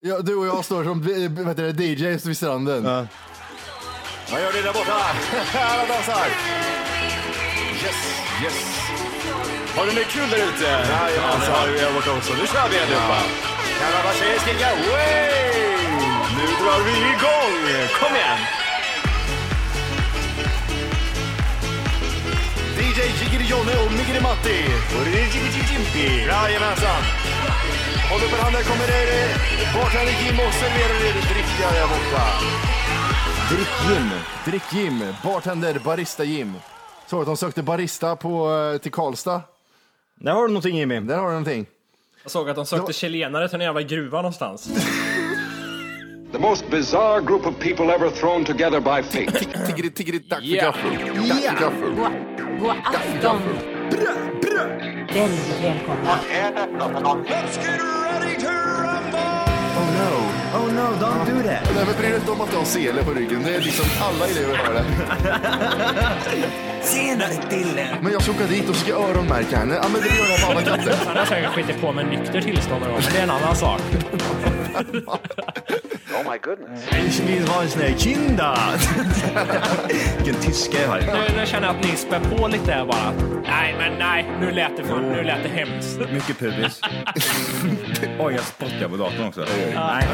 Ja, du och jag står som eh, vad heter det, DJs vid stranden. Ja. Han gör det där borta. Alla dansar. Yes, yes. Har du det kul där ute? Jajamensan. det har vi här borta också. Nu kör vi allihopa. Grabbar, tjejer, skrika way! Nu drar vi igång. Kom igen. DJ Jiggeri Jonne och Miggeri Matti. Origidididimpi. Jajamensan. Håll upp en hand, här kommer det. Bartender Jim och serverar er dricka där borta. Drick-Jim, Drick-Jim, bartender, barista-Jim. Oh, Såg att de sökte barista på, eh, till Karlstad. Där har du någonting Jimmy. Där har du någonting. Jag såg att de sökte chilenare till en jävla gruva någonstans. The most bizarre group of people ever thrown together by fate. Tiggeri, tiggeri, tack för Yeah. kaffe. Tack för kaffe. God, god afton. Väldigt välkomna. Oh no. Oh no, don't do that. Nej, men bry dig inte om att du har sele på ryggen. Det är liksom alla elever har det. Senare Dille! Men jag ska åka dit och ska öronmärka henne. Ja, men det gör jag på alla katter. Han har säkert skitit på med nykter tillstånd någon gång, men det är en annan sak. Ich will ha en sån här kinda. Vilken tyska jag har. Nu, nu känner jag att ni spär på lite här bara. Nej, men nej, nu lät det, för, nu lät det hemskt. Mycket pubis. Oj, jag spottar på datorn också. Nej,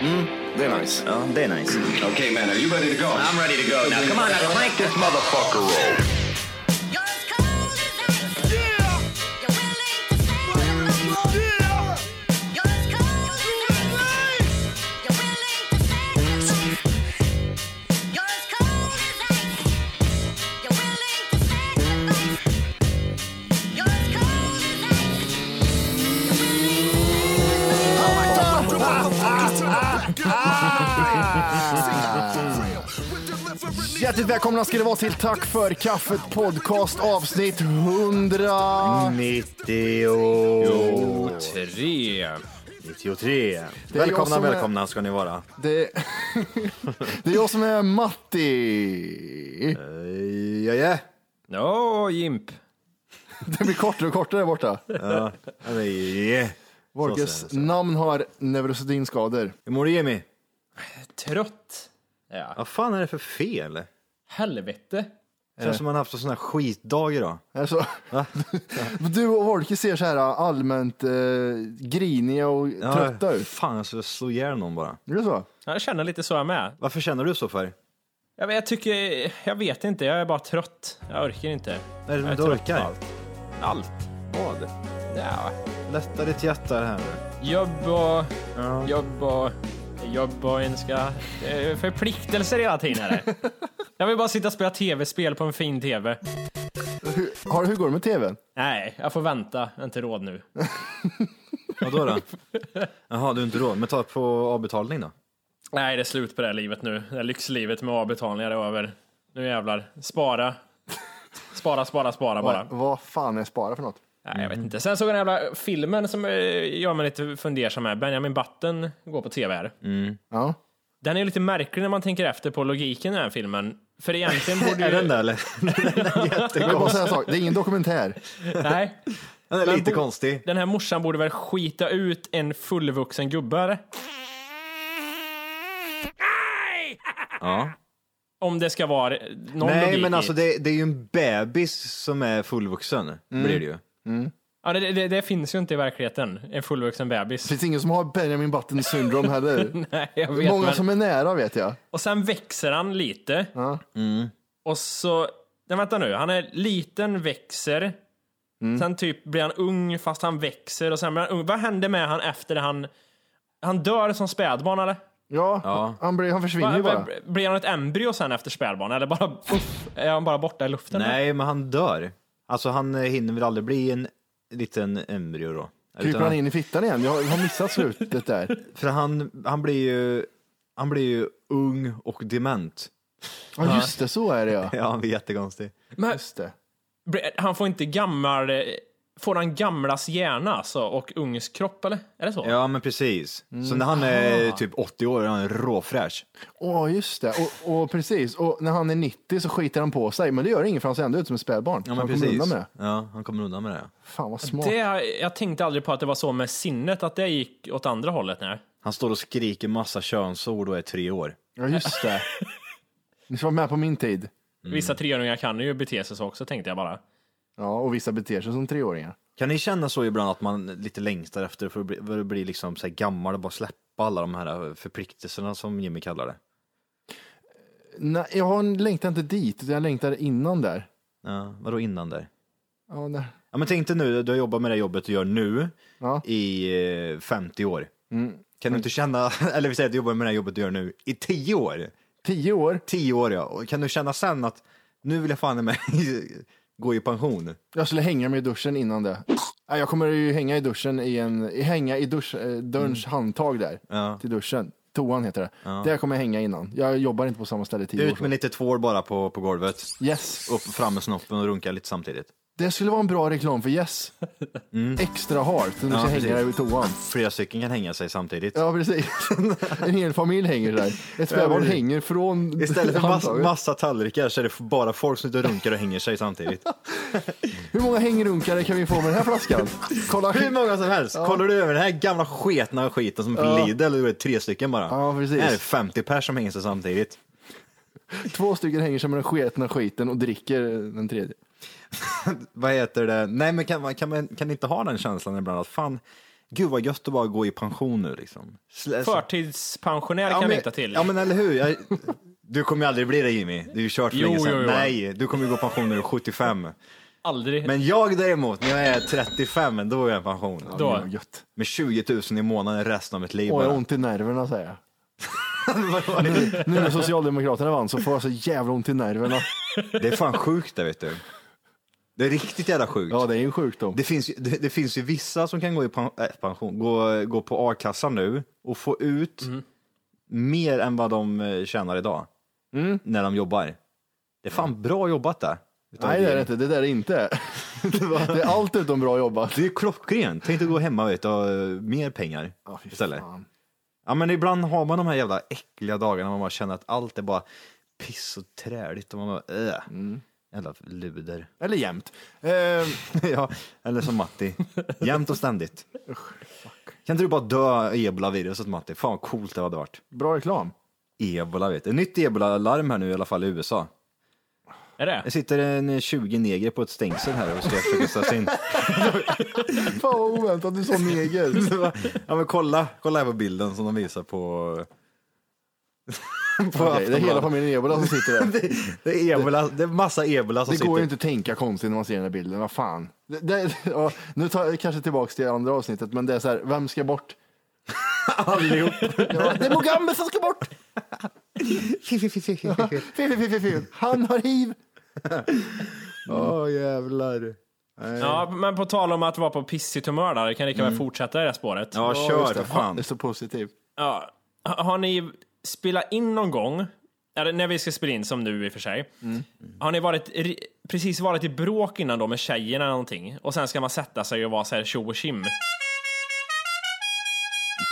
Mm, Det är nice. ja, det är nice. okay, man, are you ready to go? I'm ready to go. Now, come on, now crank this motherfucker roll. You're as cold as ice. Yeah. You're willing to stay with me. Yeah. You're as cold as ice. You're willing to stay with me. You're as cold as ice. You're willing to stay with me. You're as cold as ice. You're willing to stay with me. Hjärtligt välkomna ska det vara till Tack för kaffet podcast avsnitt 100. Mm. 93. 93. jag Välkomna, som är- välkomna ska ni vara. Det, det är jag som är Matti. Eh, Ja, ja. Åh, Jimp. Det blir kortare och kortare där borta. Ja. Vorkes namn har neurosedynskador. Hur mår du Jimmy? Trött. Ja. Eh. Vad fan är det för fel? Helvete. Känns som man haft en sån här skitdag idag. Alltså, du och Volke ser så här äh, allmänt eh, griniga och trötta ut. Fan, jag skulle slå ihjäl någon bara. Är det så? Jag känner lite så jag med. Varför känner du så för? Jag, jag tycker, jag vet inte, jag är bara trött. Jag orkar inte. Vad är det Jag du är inte trött på orkar? allt. Allt. Vad? Ja. Lätta ditt hjärta här nu. Jobb och Ja. jobb och jobb och önska eh, förpliktelser hela tiden. Är det. Jag vill bara sitta och spela tv-spel på en fin tv. Hur, har, hur går det med tvn? Nej, jag får vänta. Jag har inte råd nu. Vadå då? Jaha, du har inte råd. Men ta på avbetalning då. Nej, det är slut på det här livet nu. Det här lyxlivet med avbetalningar är över. Nu jävlar. Spara. Spara, spara, spara bara. Vad, vad fan är spara för något? Nej, jag vet inte. Sen såg jag den jävla filmen som eh, gör mig lite fundersam här. Benjamin Button går på tv här. Ja. Den är ju lite märklig när man tänker efter på logiken i den här filmen. För egentligen borde Är ju... den där eller? Jag vill bara säga en sak, det är ingen dokumentär. Nej. Den är lite konstig. Den här morsan borde väl skita ut en fullvuxen gubbe eller? Ja. Om det ska vara eh, någon Nej, logik men alltså i. det, det är ju en bebis som är fullvuxen. Mm. Blir det ju. Ja, det, det, det finns ju inte i verkligheten, en fullvuxen bebis. Det finns ingen som har Benjamin Button syndrom heller. Nej, jag vet, Många men... som är nära vet jag. Och sen växer han lite. Och så... Nej, vänta nu. Han är liten, växer. Mm. Sen typ blir han ung fast han växer. Och sen blir han ung. Vad händer med han efter det han... Han dör som spädbarn eller? Ja, Han, blir, han försvinner ju Va- bara. va- Blir han ett embryo sen efter spädbarn? Eller bara... Puff, är han bara borta i luften? Nej, men han dör. Alltså han eh, hinner väl aldrig bli en liten embryo då. Kryper Utan han in i fittan igen? Jag har, jag har missat slutet där. För han, han blir ju, han blir ju ung och dement. Ja, just det, så är det ja. Ja, han blir jättekonstig. Men Just det. Blir- Han får inte gammal eh, får han gamlas hjärna alltså, och ungs kropp, eller? Är det så? Ja, men precis. Mm. Så när han Mm. är typ 80 år är han råfräsch. Åh, just det. Och, och precis, och när han är 90 så skiter han på sig, men det gör inget för han ser ändå ut som ett spädbarn. Ja, Så men han kommer precis. undan med det. Ja, han kommer undan med det. Fan vad smart. Det, jag tänkte aldrig på att det var så med sinnet, att det gick åt andra hållet. Nej. Han står och skriker massa könsord och är tre år. Ja, just det. Ni ska vara med på min tid. Mm. Vissa treåringar kan ju bete sig så också, tänkte jag bara. Ja, och vissa beter sig som treåringar. Kan ni känna så ibland att man lite längtar efter för att bli, för att bli liksom så här gammal och bara släppa alla de här förpliktelserna som Jimmy kallar det? Nej, jag har en- längtar inte dit, utan jag längtar innan där. Ja, vadå innan där? Ja, där. Ja, men tänk dig nu, du har jobbat med det jobbet du gör nu Ja. i eh, 50 år. Mm, Kan du inte känna, eller vi säger att du jobbar med det jobbet du gör nu i 10 år. Tio år, 10 år ja, och kan du känna sen att nu vill jag fan i mig gå i pension? jag skulle hänga mig i duschen innan det. Nej, jag kommer ju hänga i duschen i en, i- hänga i dusch, eh, dörrens handtag där, Mm. Ja. till duschen. Toan heter det. Där kommer jag hänga innan. Jag jobbar inte på samma ställe i tio år. Ut med lite tvår bara på, på golvet, Yes. upp fram med snoppen och runka lite samtidigt. Det skulle vara en bra reklam för Yes. Extra hårt, när du ska hänga Mm. precis. där i toan. Flera stycken kan hänga sig samtidigt. Ja, precis. En hel familj hänger där. Ett spädbarn precis. hänger från Istället för mass, handtaget. massa tallrikar så är det bara folk som sitter och runkar och hänger sig samtidigt. Hur många hängrunkare kan vi få med den här flaskan? Kolla. Hur många som helst. Kollar du över den här gamla sketna skiten som är från Lidl, då är det tre stycken bara. Ja, precis. Här är 50 pers som hänger sig samtidigt. Två stycken hänger sig med den sketna skiten och dricker den tredje. Vad heter det? Nej, men kan man, kan man kan inte ha den känslan ibland att fan, gud vad gött att bara gå i pension nu liksom. Slä- Förtidspensionär Ja, kan jag men- längta till. Ja, men eller hur. Jag, du kommer ju aldrig bli det Jimmy. Det är ju kört för Jo, länge sedan. jo, jo. Nej, du kommer ju gå i pension när du är 75. Aldrig. Men jag däremot, när jag är 35, då är jag i pension. Då. Ja, gött. Med 20 000 i månaden resten av mitt liv Åh, jag har bara. ont i nerverna säger jag. Nu när Socialdemokraterna vann så får jag så jävla ont i nerverna. Det är fan sjukt det vet du. Det är riktigt jävla sjukt. Ja, det är en sjukdom. Det finns, ju, det, det finns ju vissa som kan gå i pen, äh, pension, gå, gå på a-kassa nu och få ut Mm. mer än vad de eh, tjänar idag Mm. när de jobbar. Det är fan bra jobbat där. Utav Nej, det är det regeringen. inte. Det där är inte. Det är allt utom bra jobbat. Det är ju klockrent. Tänk dig gå hemma vet, du, och ha eh, mer pengar fy istället. fan. Ja, men ibland har man de här jävla äckliga dagarna man bara känner att allt är bara piss och träligt och man bara äh. Mm. Jävla luder. Eller jämt. Eh, ja, eller som Matti. Jämt och ständigt. Kan inte du bara dö ebola-viruset Matti? Fan vad coolt det hade varit. bra reklam. Ebola vet du. Nytt ebola-larm här nu i alla fall i USA. Är det? Det sitter en 20 neger på ett stängsel här och ska försöka ställa sig in. Fan vad oväntat du sa neger. Ja men kolla, kolla här på bilden som de visar på... på Okej, det är hela Aftonbladet. familjen Ebola som sitter där. det är ebola, det är massa ebola som Det sitter. går ju inte att tänka konstigt när man ser den här bilden, vad fan. Det, det, ja, nu tar jag kanske tillbaks till andra avsnittet, men det är så här, vem ska bort? allihop. Ja, det är Mugabe som ska bort! Fy, fy, fy, fy, fy. Han har hiv! Åh jävlar. Ja, men på tal om att vara på pissigt humör där, det kan lika väl fortsätta i det här spåret. Mm. Ja kör för fan. Det är så positivt. Ja. Ha- Har ni spelat in någon gång, eller när vi ska spela in som nu i och för sig, har ni varit, ri- precis varit i bråk innan då med tjejen eller någonting och sen ska man sätta sig och vara så här tjo och tjim?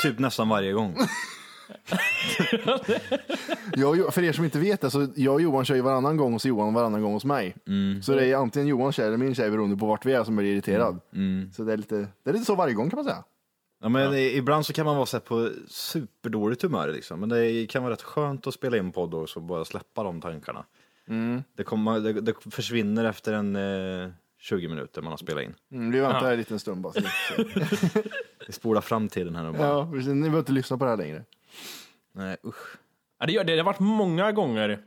Typ nästan varje gång. Jag, och Jo- för er som inte vet det, så jag och Johan kör ju varannan gång hos Johan och varannan gång hos mig. Så det är antingen Johans tjej eller min tjej beroende på vart vi är som blir irriterad. Så det är, lite, det är lite så varje gång kan man säga. Ja, men Ibland så kan man vara så här på superdåligt humör, liksom. men det kan vara rätt skönt att spela in podd och så bara släppa de tankarna. Det, kommer, det, det försvinner efter en eh, 20 minuter man har spelat in. Mm, vi väntar en liten stund bara. Så, så. Vi spolar framtiden här och bara, Ja, precis. ni behöver inte lyssna på det här längre. nej usch. Ja, det, gör, det Det har varit många gånger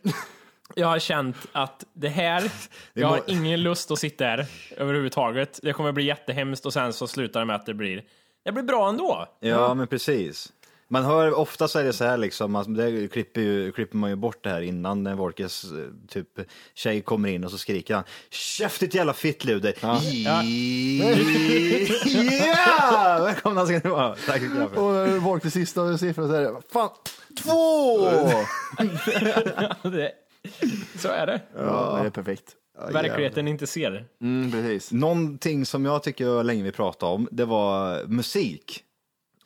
jag har känt att det här, jag har ingen lust att sitta här överhuvudtaget. Det kommer bli jättehemskt och sen så slutar det med att det blir, det blir bra ändå. Ja, men precis. Man hör, ofta så är det så här liksom, att det klipper, ju, klipper man ju bort det här innan när Wolkes eh, typ tjej kommer in och så skriker han Käftigt jävla fittluder! Ja. Yeah! Välkomna ska ni vara! Tack så mycket. Och när Wolk till sista siffran så är det, fan, två! Det, så är det. Ja, det är perfekt. verkligheten inte ser. Mm, precis. Någonting som jag tycker jag länge vi pratade om, det var musik.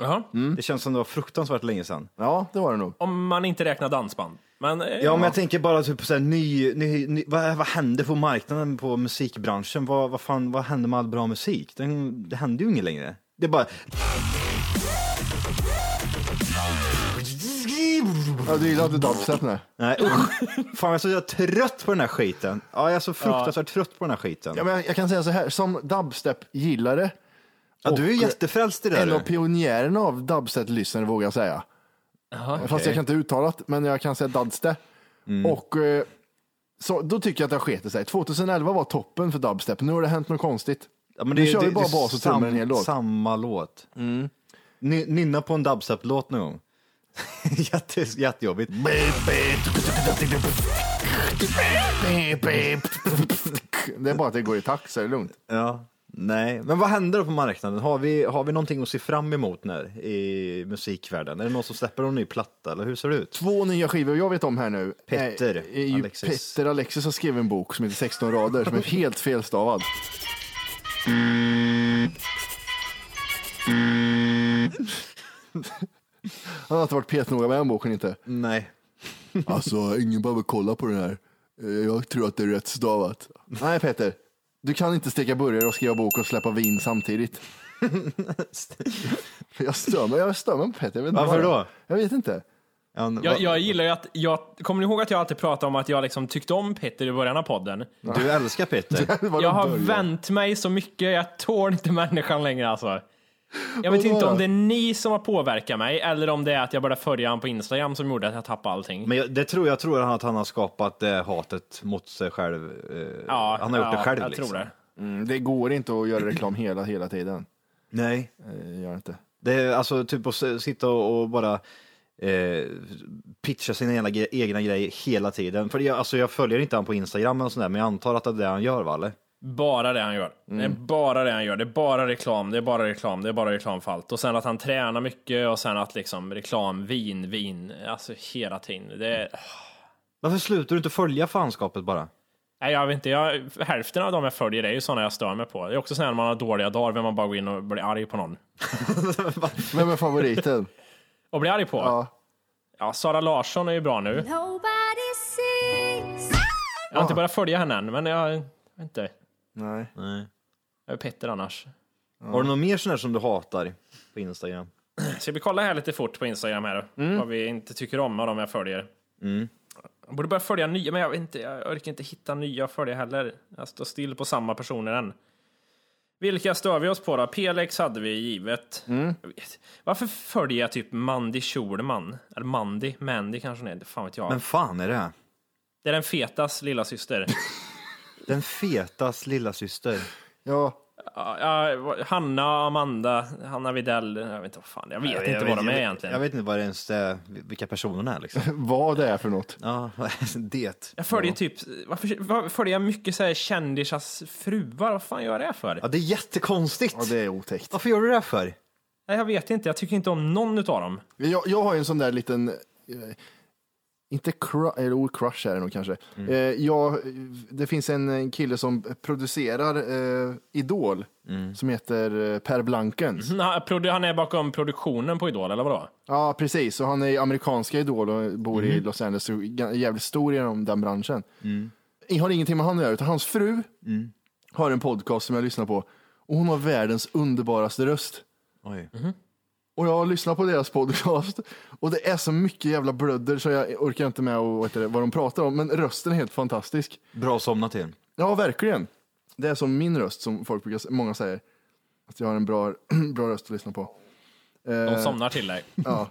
Jaha. Det känns som det var fruktansvärt länge sedan. Mm. Ja, det var det nog. Om man inte räknar dansband. Men, eh, Ja, men jag tänker bara typ på så här, ny, ny, ny, vad, vad händer på marknaden, på musikbranschen? Vad, vad, fan, vad händer med all bra musik? Den, det händer ju inget längre. Det är bara... Ja, du gillar inte dubstep nu? Nej, usch. Fan, jag är så trött på den här skiten. Ja, jag är så fruktansvärt trött på den här skiten. Ja, Ja, men jag- jag kan säga så här, som dubstep-gillare, du är och- eh, jättefrälst i det en av där. du. pionjärerna av dubstep-lyssnare vågar jag säga. Fast jag kan inte uttala det, men jag kan säga dubstep. Mm. Och eh, så, då tycker jag att det har skitit sig. 2011 var toppen för dubstep, nu har det hänt något konstigt. Ja, men nu kör vi bara bas och trummor sam- en hel låt. Mm. Samma låt. Ny- Nynna på en dubstep-låt någon gång. Jätte, jättejobbigt. Det är bara att det går i takt så är det lugnt. Ja, nej. Men vad händer då på marknaden? Har vi, har vi någonting att se fram emot när i musikvärlden? Är det någon som släpper en ny platta eller hur ser det ut? Två nya skivor jag vet om här nu. Eh, Petter är, är ju Alexis. Petter Alexis har skrivit en bok som heter 16 rader som är helt felstavad. Han har inte varit petnoga med den boken inte. Nej. Alltså, ingen behöver kolla på den här. Eh, Jag tror att det är rätt stavat. Nej, Petter. Du kan inte steka burgare och skriva bok och släppa vin samtidigt. Jag stör mig, jag stör mig på Petter. Jag vet inte Varför vad det är. då? Jag vet inte. Ja, n- Jag, vad- jag gillar ju att, jag, kommer ni ihåg att jag alltid pratade om att jag liksom tyckte om Petter i början av podden? Du älskar Petter. Det var Jag en har början. vänt mig så mycket, jag tål inte människan längre alltså. Jag vet Vadå inte om då? det är ni som har påverkat mig eller om det är att jag började följa honom på Instagram som gjorde att jag tappade allting. Men jag, det tror jag tror han att han har skapat det hatet mot sig själv. eh, ja, han har gjort ja, det själv. jag liksom. tror det. Mm, det går inte att göra reklam hela, hela tiden. Nej, Eh, det Gör inte. det är alltså typ att s- sitta och, och bara eh, pitcha sina egna, gre- egna grejer hela tiden. För jag, alltså, jag följer inte han på Instagram eller sådär, men jag antar att det är det han gör, va? eller? Bara det han gör. Det är Mm. bara det han gör. Det är bara reklam, det är bara reklam, det är bara reklam för allt. Och sen att han tränar mycket och sen att liksom reklam, vin, vin, alltså hela tiden. Det är... Varför slutar du inte följa fanskapet bara? Nej, jag vet inte. Jag, hälften av dem jag följer är ju sådana jag stör mig på. Det är också sådana när man har dåliga dagar, vill man bara gå in och bli arg på någon. Vem är favoriten? Och bli arg på? Ja. Sara Larsson är ju bra nu. Nobody sees. Jag har inte börjat följa henne än, men jag, jag vet inte. Nej. Jag är Petter annars. Har du något mer sån här som du hatar på Instagram? Ska vi kolla här lite fort på Instagram här, vad vi inte tycker om av de jag följer? Mm. Jag borde börja följa nya, men jag, vet inte, jag orkar inte hitta nya att följa heller. Jag står still på samma personer än. Vilka stör vi oss på då? PLX hade vi givet. Jag vet- Varför följer jag typ Mandy Schulman? Eller Mandy, Mandy kanske hon är, fan vet jag. Men fan är det här? Det är den fetas lilla syster. Den fetas lilla syster. Ja, Ja, ja, Hanna, Amanda, Hanna Videll, jag vet inte vad fan, jag vet inte vad de är egentligen. Jag Jag, vet inte vad det ens är, vilka personerna är liksom. vad det är för något. Ja, det. följer typ, varför, varför följer jag mycket så här kändisars fruar? Vad fan gör jag det för? Ja, det är jättekonstigt. Ja, det är otäckt. Varför gör du det här för? Nej, jag vet inte, jag tycker inte om någon utav dem. Jag, jag har ju en sån där liten, eh, inte crush, eller oh, crush är det nog kanske. Eh, jag, det finns en, en kille som producerar eh, Idol som heter eh, Per Blankens. Han, produ- han är bakom produktionen på Idol, eller vadå? Ja, precis. Och han är amerikanska Idol och bor i Los Angeles och är jävligt stor inom den branschen. Jag har ingenting med han att göra, utan hans fru har en podcast som jag lyssnar på och hon har världens underbaraste röst. Oj. Och jag har lyssnat på deras podcast och det är så mycket jävla blödder så jag orkar inte med och, vad, heter det, vad de pratar om. Men rösten är helt fantastisk. Bra att somna till. Ja, verkligen. Det är som min röst som folk brukar, många säger. Att jag har en bra, bra röst att lyssna på. De somnar till dig. Ja.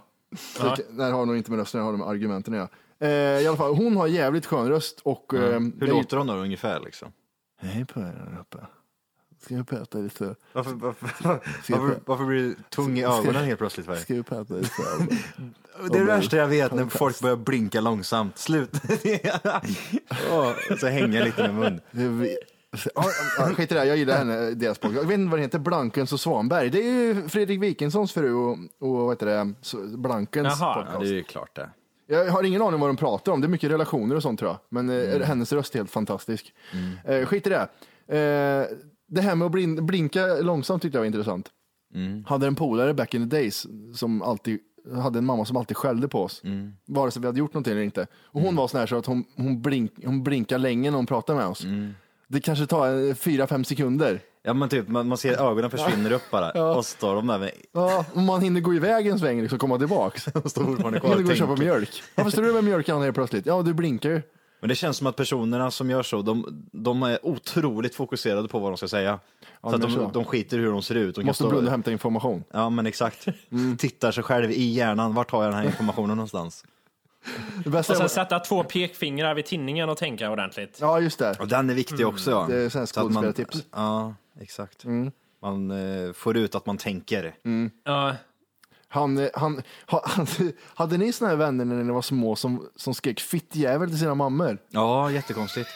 Det, det här har nog inte med rösten, det har nog med argumenten ja. eh, I alla fall, hon har jävligt skön röst och... Eh, Mm. Hur låter de då ungefär liksom? Hej på er där uppe. Ska jag peta lite? Varför, varför, varför, varför blir du tung i ögonen helt plötsligt? För? Ska jag peta lite? Det är det värsta jag vet, när folk börjar blinka långsamt. Slut. Åh, så hänger lite med mun. Det vi- Ja, ja, skit i det, här, jag gillar henne, deras podcast. Jag vet inte vad den heter, Blankens och Svanberg. Det är ju Fredrik Wikingssons fru och, och vad heter det, så- Blankens Jaha. podcast. är ju klart det. Jag har ingen aning vad de pratar om. Det är mycket relationer och sånt tror jag. Men eh, hennes röst är helt fantastisk. Eh, skit i det. Eh, det här med att blin- blinka långsamt tyckte jag var intressant. Hade en polare back in the days som alltid hade en mamma som alltid skällde på oss, vare sig vi hade gjort någonting eller inte. Och hon var sån här så att hon, hon, blink, hon blinkar länge när hon pratar med oss. Det kanske tar eh, fyra fem sekunder. Ja men typ, man, man ser ögonen försvinner upp bara. Och så står de där med, Ja, om man hinner gå iväg en sväng liksom, komma tillbaks. de står fortfarande Jag kvar hinner och gå och köpa tänker. mjölk. Varför står du med mjölkan helt plötsligt? Ja, du blinkar ju. Men det känns som att personerna som gör så, de, de är otroligt fokuserade på vad de ska säga. så att men de, så. de skiter i hur de ser ut. De kan Måste stå- blunda Mm. och hämta information. Ja men exakt. Tittar sig själv i hjärnan, vart har jag den här informationen någonstans? Det bästa Och sen är... sätta två pekfingrar vid tinningen och tänka ordentligt. Ja, just det. Och den är viktig också ja. Mm. Det är sån här Så att man- skådespelartips. Mm. Ja, exakt. Man eh, får ut att man tänker. Ja, Han, eh, han, ha- han, hade ni såna här vänner när ni var små som, som skrek fittjävel till sina mammor? Ja, jättekonstigt.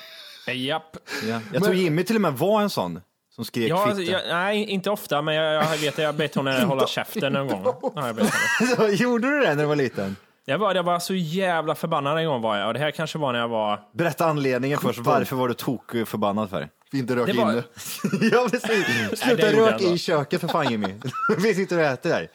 japp. Ja. Jag tror Jimmy till och med var en sån som skrek Ja, alltså, fitta. jag, nej, inte ofta, men jag, jag vet att jag bett henne hålla käften någon gång. Ja, jag, bett henne. Gjorde du det när du var liten? jag, var, jag var så jävla förbannad en gång var jag, och det här kanske var när jag var... Berätta anledningen först, varför var du tokförbannad för? Mm. Vi inte rök Det var- inne. ja precis, Nej, sluta det gjorde jag rök i då. köket för fan Jimmy. Vi sitter och äter här.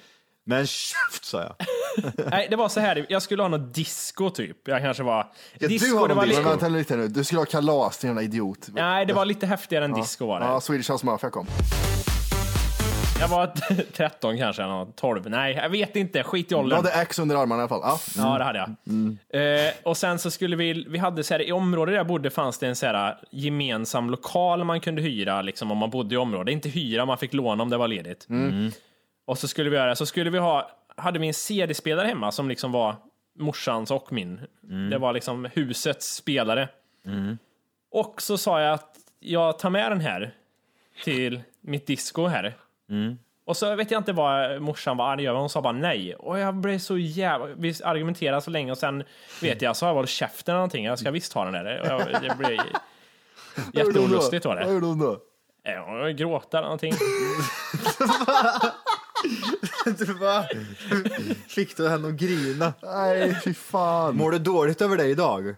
Men käft sa jag. Nej, det var så här, jag skulle ha något disco typ. Jag kanske var... du har disco, det någon var Men lite, vänta lite nu, du skulle ha kalas din jävla idiot. nej, det var lite häftigare än disco var det. Ja, Swedish House Mafia kom. Jag var 13 kanske, eller något, 12. Nej, jag vet inte. Skit i Du åldern. hade ax under armarna i alla fall. Ja. Ja, det hade jag. Mm. Eh, och sen så skulle vi, vi hade så här, i området där jag bodde fanns det en så här eh, gemensam lokal man kunde hyra, liksom om man bodde i området. Inte hyra, man fick låna om det var ledigt. Mm. Och så skulle vi göra, så skulle vi ha, hade vi en CD-spelare hemma som liksom var morsans och min. Mm. Det var liksom husets spelare. Och så sa jag att jag tar med den här till mitt disco här. Och så vet jag inte vad morsan var arg över, hon sa bara nej. Och jag blev så jävla... Vi argumenterade så länge och sen vet jag, så jag var käften eller någonting, jag ska visst ha den där. Och jag, det blev jätteolustigt var Vad det. gjorde hon då? Jag gråta eller någonting. Fick du henne att grina? Nej, fy fan. Mår du dåligt över det idag?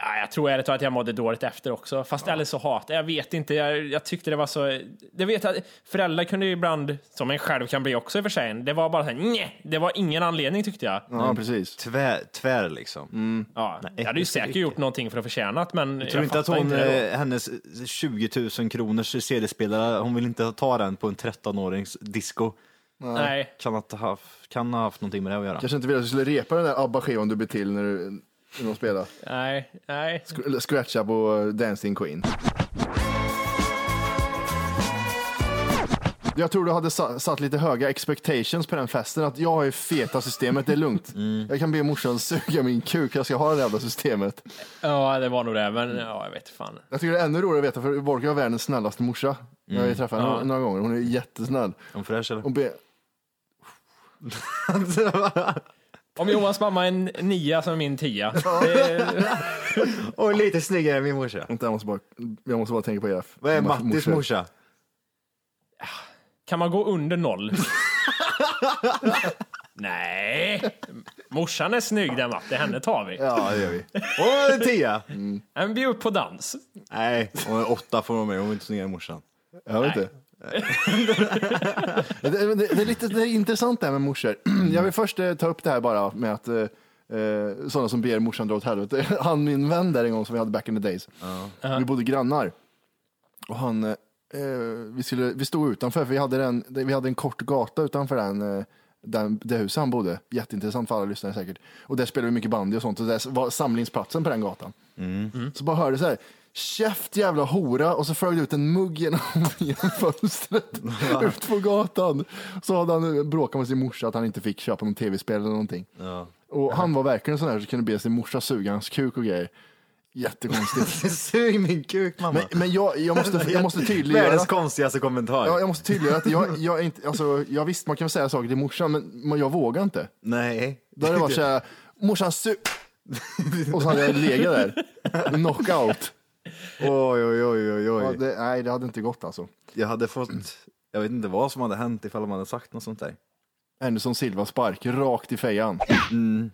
Ja, jag tror ärligt talat att jag mådde dåligt efter också. Fast eller så hatar jag, vet inte. Jag, jag tyckte det var så... Jag vet att föräldrar kunde ju ibland, som en själv kan bli också i och för sig, det var bara så här, nej, det var ingen anledning tyckte jag. Ja, precis. Tvär, tvär liksom. Ja, jag hade ju säkert gjort någonting för att förtjäna det, men jag Tror inte att fattar hon, det då. eh, hennes 20 000 kronors CD-spelare, hon vill inte ta den på en 13-årings disco. Nej. Kan, att ha, haft- kan ha haft någonting med det att göra. Kanske inte ville att du skulle repa den där ABBA-skivan du blev till när, du, när de spelade. Nej, nej. Eller Scratcha på Dancing Queen. Jag tror du hade sa- satt lite höga expectations på den festen, att jag har ju feta systemet, det är lugnt. Mm. Jag kan be morsan suga min kuk, jag ska ha det jävla systemet. Ja, det var nog det, Mm. men ja, jag vet fan. Jag tycker det är ännu roligare att veta, för Volker har världens snällaste morsa. Jag har Mm. ju träffat henne några gånger, hon är jättesnäll. Hon fräsch eller? Hon be- Om Johans mamma är en nia så är min tia. Det, Och lite snyggare än min morsa. Vänta, jag, måste bara, jag måste bara tänka på Jeff. Vad är Mattis morsa? kan man gå under noll? Nej, morsan är snygg den Matte, henne tar vi. Ja, det gör vi. Åh, en tia! Men bjud upp på dans. Nej, hon är åtta får hon med, hon är inte snyggare än morsan. Jag vet inte. det, det, det är lite det är intressant det här med morsor. Jag vill först eh, ta upp det här bara med att eh, eh, sådana som ber morsan dra åt helvete. Han min vän där en gång som vi hade back in the days. Vi bodde grannar. Och han, eh, vi, skulle, vi stod utanför, för vi hade, den, vi hade en kort gata utanför den, eh, den, det huset han bodde. Jätteintressant för alla lyssnare säkert. Och där spelade vi mycket bandy och sånt. Och där var samlingsplatsen på den gatan. Så bara hörde så här, käft jävla hora, och så flög det ut en mugg genom, genom fönstret ut på gatan. Så hade han eh, bråkat med sin morsa att han inte fick köpa någon tv-spel eller någonting. Och han var verkligen sån här som kunde be sin morsa suga hans kuk och grejer. Jättekonstigt. Sug min kuk mamma. Men, men jag, jag, måste, jag måste tydliggöra. Världens konstigaste kommentar. Ja, jag måste tydliggöra att jag, jag är inte, alltså, jag visst man kan säga saker till morsan, men men jag vågar inte. Nej. Då hade det varit såhär, morsan su... Och så hade jag legat där, knockout. Oj, oj, oj, oj, oj. Ja, det, nej, det hade inte gått alltså. Jag hade fått, jag vet inte vad som hade hänt ifall man hade sagt något sånt där. Anderson Silva spark rakt i fejan.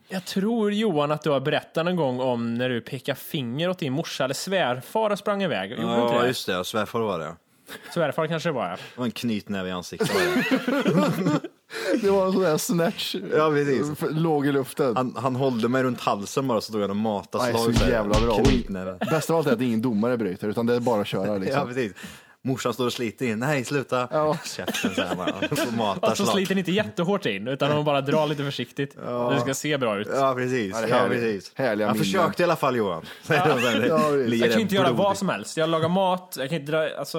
Jag tror Johan att du har berättat någon gång om när du pekade finger åt din morsa eller svärfar och sprang iväg. Gjorde du inte Ja, det? just det. Svärfar var det. Svärfar kanske det var ja. Det var en knytnäve i ansiktet. var det. Det var en sån där snatch. Ja, precis. F- Låg i luften. Han, han hållde mig runt halsen bara så tog han en Nej, mataslag. så här. jävla bra. Knytnäve. Bästa av allt är att ingen domare bryter, utan det är bara att köra. Ja, Liksom. precis. Morsan står och sliter in. Nej, sluta! Ja. Käften säger han bara. Och så Och så matarslag. sliter ni inte jättehårt in, utan hon bara drar lite försiktigt. Det ska se bra ut. Ja, precis. Ja, det är Ja, härligt. precis. Härliga jag minnen. försökte i alla fall Johan. Säger de sen. Ja, precis. Ligger Jag kan en inte göra blodig- vad som helst. Jag lagar mat, jag kan inte, dra, alltså,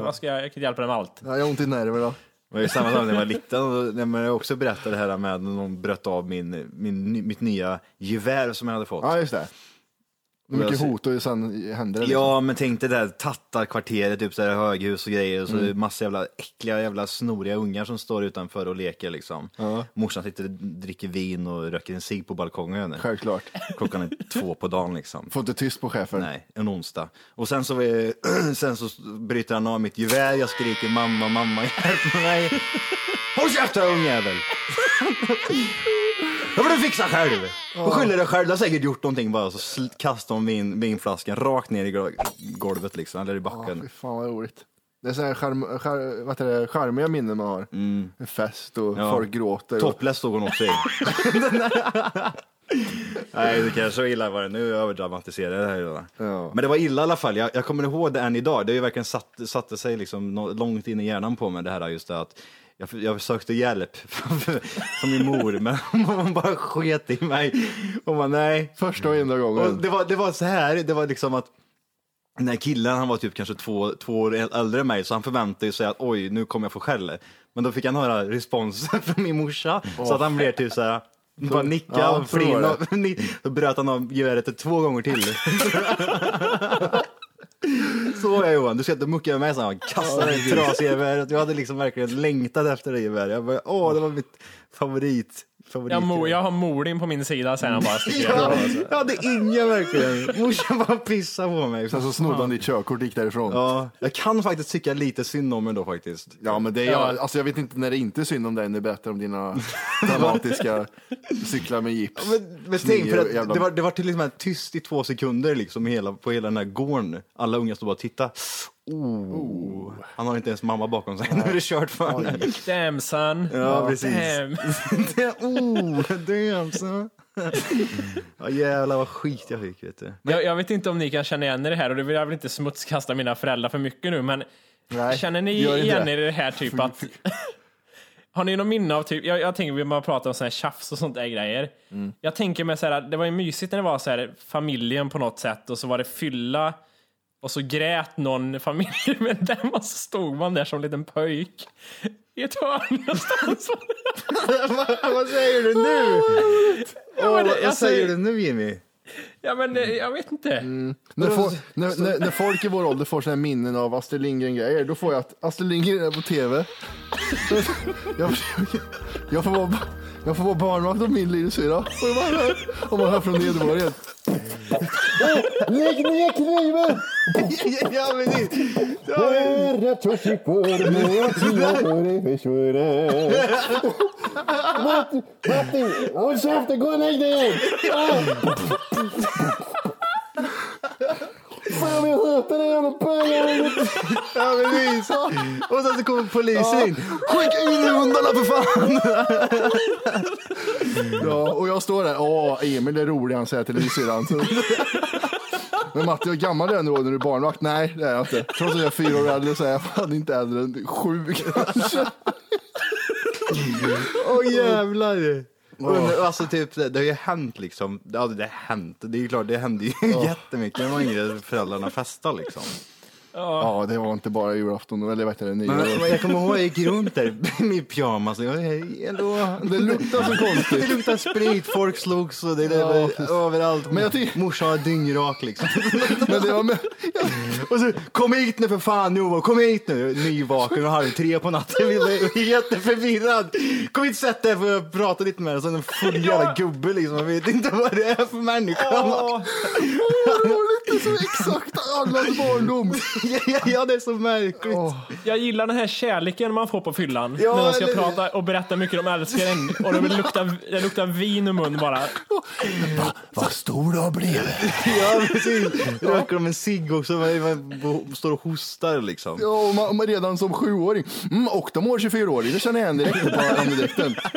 vad ska jag, jag kan inte hjälpa dig med allt. Ja, jag har ont i nerverna. Det var ju samma sak när jag var liten. Och då, när jag också berättade det här med när någon bröt av min, min, mitt nya gevär som jag hade fått. Ja, just det. Det är mycket hot och sen händer det. Ja, men tänk det där tattarkvarteret, typ så här höghus och grejer. Och så mm. massa jävla äckliga, jävla snoriga ungar som står utanför och leker liksom. Morsan sitter och dricker vin och röker en cigg på balkongen. liksom. Självklart. Klockan är två på dagen liksom. Får inte tyst på chefen. Nej, en onsdag. Och sen så, var- sen så bryter han av mitt gevär, jag skriker mamma, mamma, hjälp mig. Håll käften ungjävel! Det får du fixa själv! Och skyller dig själv, du har säkert gjort någonting bara. Så sl- kastar hon vin, vinflaskan rakt ner i gro- golvet liksom, eller i Ja, Ah, fy backen. fan vad roligt. Det är så här charm, char, vad heter det, charmiga minnen man har. En Fest och Mm. Ja. folk gråter. Och, Topless stod hon också i. Nej, det kanske var illa var det. Nu överdramatiserar jag det här. redan. Ja. Men det var illa i alla fall. Jag, jag kommer ihåg det än idag. Det har ju verkligen satt, satte sig liksom nå- långt in i hjärnan på mig det här just det att jag, jag sökte hjälp från min mor, men hon bara sket i mig. Hon bara nej, första och enda och gången. det, var, det var så här, det var liksom att den här killen han var typ kanske två, två år äldre än mig så han förväntade sig att oj nu kommer jag få skäll. Men då fick han höra responsen från min morsa så att han blev typ så här bara nicka ja, och så var flina. Då bröt han av geväret två gånger till. Så var jag Johan, du ska inte mucka med mig, sa han. Kastade det trasiga geväret. Jag hade liksom verkligen längtat efter det geväret. Jag bara, åh, det var mitt favorit. favorit Jag, mo, jag har Morin på min sida, säger han bara. sticker iväg. Ja, alltså. jag hade inga verkligen. Morsan bara pissade på mig. Sen så snodde han ditt körkort och gick därifrån. Ja. Ja, jag kan faktiskt tycka lite synd om mig då faktiskt. men det är, jag, alltså jag vet inte när det inte är synd om dig när du berättar om dina dramatiska cyklar med gips. Men, men tänk, för Snigel och att jävla- det var, det var till liksom här tyst i två sekunder liksom i hela, på hela den här gården. Alla unga stod bara och tittade. Oh. Han har inte ens mamma bakom sig. Nu är det kört för honom. Damn son. Ja, precis. Damn. Det- oh, damn son. Ja, jävlar vad skit jag fick vet du. Jag, jag vet inte om ni kan känna igen er i det här och det vill jag väl inte smutskasta mina föräldrar för mycket nu men Nej, känner ni gör inte igen det. er i det här typ att Har ni någon minne av typ, jag, jag tänker vi bara pratar om sådana här tjafs och sånt där grejer. Mm. Jag tänker mig så här, det var ju mysigt när det var så här familjen på något sätt och så var det fylla och så grät någon familj men den och så stod man där som en liten pöjk i ett hörn någonstans. vad säger du nu? Ja, men det- vad alltså, säger du nu Jimmy? Ja men eh, jag vet inte. När, få, när, när, när folk i vår ålder får såna här minnen av Astrid Lindgren-grejer, då får jag att Astrid Lindgren är på tv. Jag, jag, får, vara, jag får vara barnvakt åt min lillasyrra. Och jag bara hör- Och man hör från nedervåningen. Lägg ner kniven! ja, men det, Bara tussikorv och tiakorv Matti, Matti, håll käften, gå och lägg dig igen! Fan jag hatar dig jävla bögen! Ja precis. Och sen så kommer polisen in. Skicka in hundarna för fan! Ja, och jag står där, åh Emil är rolig han säger till lillsyrran. Så- Men Matti, hur gammal är du då när du är barnvakt? Nej, det är jag inte. Trots att jag är fyra år äldre så är jag fan inte äldre än sju kanske. Åh jävlar. Undrar, Alltså typ, det, det har ju hänt liksom. Ja, det har hänt. Det är ju klart, det hände ju jättemycket när man var yngre. Föräldrarna festade liksom. Ja, det var inte bara julafton, eller vad heter det, Men, nyår. jag kommer ihåg, jag gick runt där i pyjamas. och Jag, hej, hallå. Det luktar så Det konstigt. luktade sprit, folk slogs och det, det Ja, var precis. överallt. Men jag tycker- Morsan var dyngrak liksom. Men det var med, Och så, kom hit nu för fan Johan, kom hit nu! Nyvaken och halv tre på natten, ville- jätteförvirrad. Kom hit sätt dig för att prata lite med dig. Sen en full jävla gubbe liksom, jag vet inte vad det är för människa. Åh, Vad roligt det är så exakt allas barndom. ja, ja, det är så märkligt. Jag gillar den här kärleken man får på fyllan. Ja, när de ska eller- prata och berätta hur mycket de älskar en. Och det luktar, det luktar vin i mun bara. Vad stor du har blivit. Ja, precis. Röker de en cigg också, man, man bo- står och hostar liksom. Ja, och man, man redan som sjuåring. Mm, och de var 24 år, det känner jag igen direkt på andedräkten.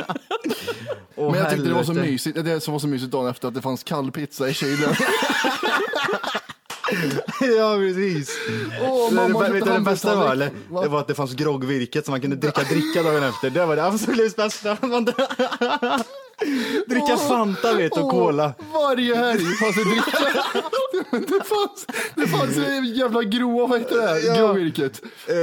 Åh, Men jag tyckte det var så helvete. mysigt, det som var så mysigt dagen efter att det fanns kall pizza i kylen. Ja, precis. Åh, det, mamma det, vet köpte du det bästa var? Eller? handelstallrik. Va? Det var att det fanns groggvirket som man kunde dricka dricka dagen efter. Det var det absolut bästa. Man- dricka Fanta vet du, och Åh, Cola. Varje helg fanns det dricka. det, fanns, det fanns det jävla gråa, vad heter det? Ja. här? Gråvirket. Eh,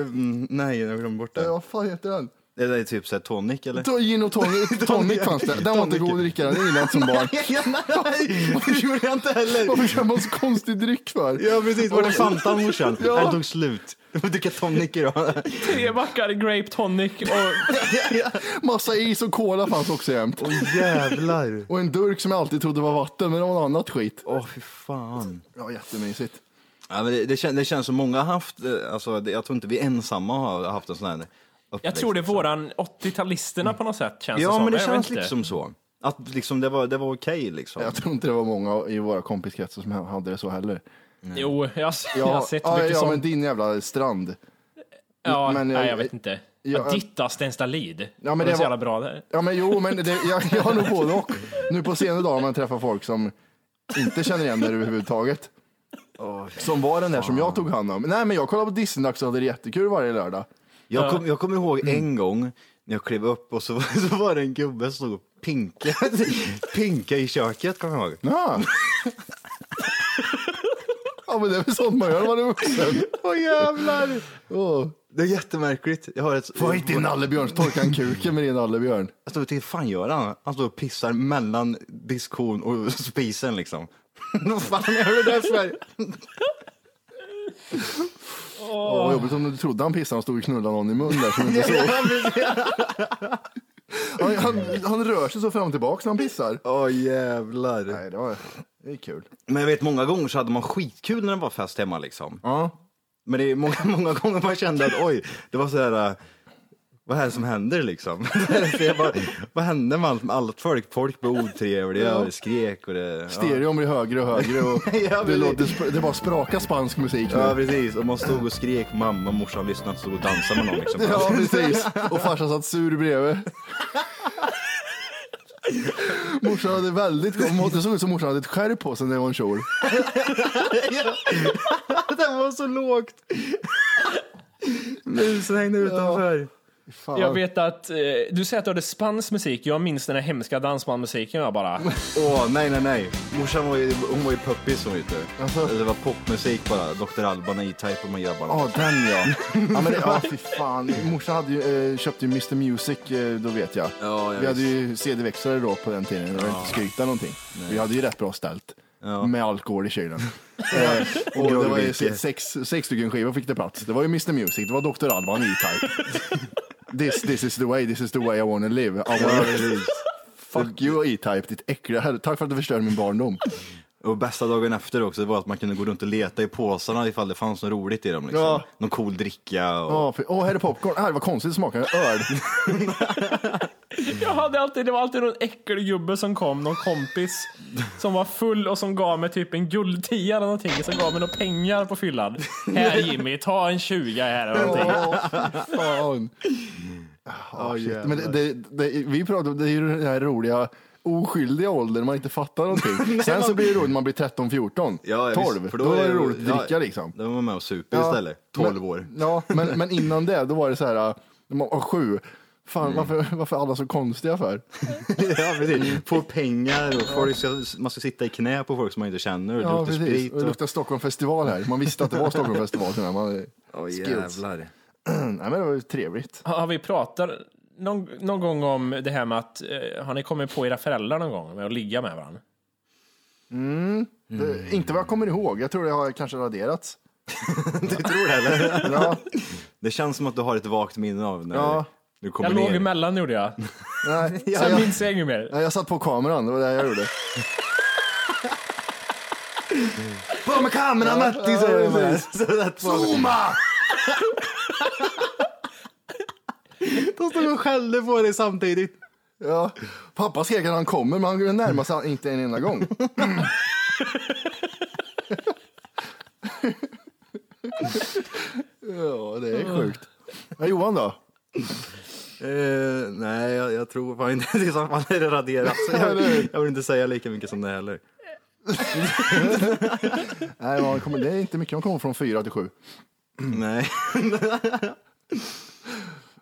mm, nej, jag glömde bort det. Ja, vad fan heter den? Det där är typ såhär tonic eller? Ta- Gin och tonic, tonic fanns det. Den var inte god att dricka, den gillade jag inte som barn. Ja, nej, det gjorde jag inte heller. Varför kör man så konstig dryck för? Ja precis, var det Fanta morsan? Ja. Den tog slut. Du får dricka tonic idag. Tre backar grape tonic och Massa is och cola fanns också jämt. Åh jävlar. Och en durk som jag alltid trodde var vatten, men det var något annat skit. Åh fy fan. Ja, jättemysigt. Ja, men det, det, kän, det känns som många har haft, eh, alltså, det, jag tror inte vi ensamma har haft en sån här Jag uppväxt, tror det är liksom. våran 80-talisterna på något sätt känns det Ja som. men det Jag vet känns inte. liksom så. Att liksom det var, det var okej liksom. Jag tror inte det var många i våra kompiskretsar som hade det så heller. Jo, jag, har- jag har sett ja, mycket ja, sånt. men din jävla strand. ja, men- nej, jag vet inte. Ja, Ja, Ditta Stenstalid. men det det var så var- jävla bra där. Ja, men jo, men det, jag, jag har nog både och. Nu på senare dagar har man träffat folk som inte känner igen det överhuvudtaget. Som var den där som jag tog hand om. Nej, men jag kollade på Disney-dags och hade det jättekul varje lördag. Jag, kom, jag kommer ihåg Mm. en gång när jag klev upp och så, så var det en gubbe som stod och pinka, pinka i köket kommer jag ihåg. Ja. ja, men det är väl sånt man gör när man är vuxen. Åh jävlar. Oh. Det är jättemärkligt. Jag har ett... Få hit din nallebjörn, så torkar han kuken med din nallebjörn. Jag stod och tänkte, fan gör han? Han står och pissar mellan diskon och spisen liksom. Vad fan gör du det för? Åh, Vad jobbigt om du trodde han pissade och stod och knullade någon i munnen där som inte såg. Han, han, han rör sig så fram och tillbaka när han pissar. Åh jävlar. Nej, det, var, det är kul. Men jag vet många gånger så hade man skitkul när det var fest hemma liksom. Ja. Men det är många, många gånger man kände att oj, det var så här, äh, vad är det som händer liksom? Så jag bara, vad hände med allt, med allt folk? Folk blev otrevliga och det skrek och det... Ja. Stereon blir högre och högre och Ja, det, precis. låter, sp- det bara sprakar spansk musik nu. Ja precis, och man stod och skrek, mamma och morsan lyssnade och stod och dansade med någon liksom. Ja, precis. Och farsan satt sur bredvid. Morsan hade väldigt gott, det såg ut som morsan hade ett skärp på sig när hon var en kjol. Den var så lågt. Musen hängde utanför. Fan. Jag vet att eh, du säger att du hade spansk musik. Jag minns den här hemska dansbandmusiken jag bara. Åh, nej, nej, nej. Morsan var ju, hon var ju puppis hon ute. Det var popmusik bara. Dr. Alban och E-Type och de grabbarna. Ja, den ja. Ja, men det, ja, fy fan. Morsan hade ju, eh, köpte ju Mr Music, eh, då vet jag. Ja, jag Vi hade ju CD-växlare då på den tiden, jag vill inte skryta någonting. Vi hade ju rätt bra ställt. Med alkohol i kylen. Eh, och det var ju Groggvirke. sex, sex stycken skivor fick det plats. Det var ju Mr Music, det var Dr. Alban, E-Type. typ. This, this is the way, this is the way I wanna live. I Ja, wanna... precis. Fuck you E-Type, ditt äckliga herre. Tack för att du förstörde min barndom. och bästa dagen efter också det var att man kunde gå runt och leta i påsarna ifall det fanns något roligt i dem. Liksom. Ja. Någon cool dricka. Och... Åh, för... åh, här är popcorn. Ah, vad konstigt det smakar, öl. Jag hade alltid, det var alltid någon äcklig gubbe som kom, någon kompis som var full och som gav mig typ en guldtia eller någonting. Som gav mig några pengar på fyllan. Här Jimmy, ta en 20 här eller någonting. Åh, fy fan. Ah, shit. Men det, det, det, vi pratar om det är ju den här roliga oskyldiga åldern man inte fattar någonting. Sen så blir det roligt när man blir 13, 14, Ja, visst, 12. då, är det roligt att dricka ja, liksom. Då var man med och super istället. 12 år. Men, ja, men, men innan det, då var det så här, äh, när man var sju. Mm. Fan, varför, varför är alla så konstiga för? ja, precis. Få Mm. pengar och folk ska, man ska sitta i knä på folk som man inte känner och Ja, lukta precis. sprit. Och det luktar Stockholm festival här. Man visste att det var Stockholm festival. till och med. Man, Åh, skills. jävlar. Nej, men det var ju trevligt. Har har vi pratat någon, någon gång om det här med att, eh, har ni kommit på era föräldrar någon gång med att ligga med varandra? Mm. Det, inte vad jag kommer ihåg. Jag tror det har kanske raderats. Du tror det eller? Ja, Det känns som att du har ett vagt minne av när Ja. du kommer Jag ner. låg emellan gjorde jag. nej, Sen jag- minns jag inget mer. Nej, jag satt på kameran, det var det jag gjorde. På med kameran Matti säger Ja, man. precis. Så att man- Zooma! De stod och skällde på dig samtidigt. Ja. Pappa skrek att han kommer men han närmar sig inte en enda gång. ja det är sjukt. Ja, Johan då? Eh, nej, jag, jag tror fan inte det. är sant, Man är raderat. Så jag, jag vill inte säga lika mycket som det heller. Nej, man kommer, det är inte mycket, man kommer från fyra till sju. Nej.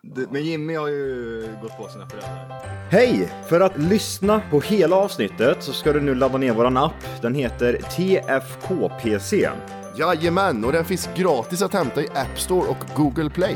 Det- Men Jimmy har ju gått på sina föräldrar. Hej! För att lyssna på hela avsnittet så ska du nu ladda ner våran app. Den heter TFKPC. Jajamän, och den finns gratis att hämta i App Store och Google Play.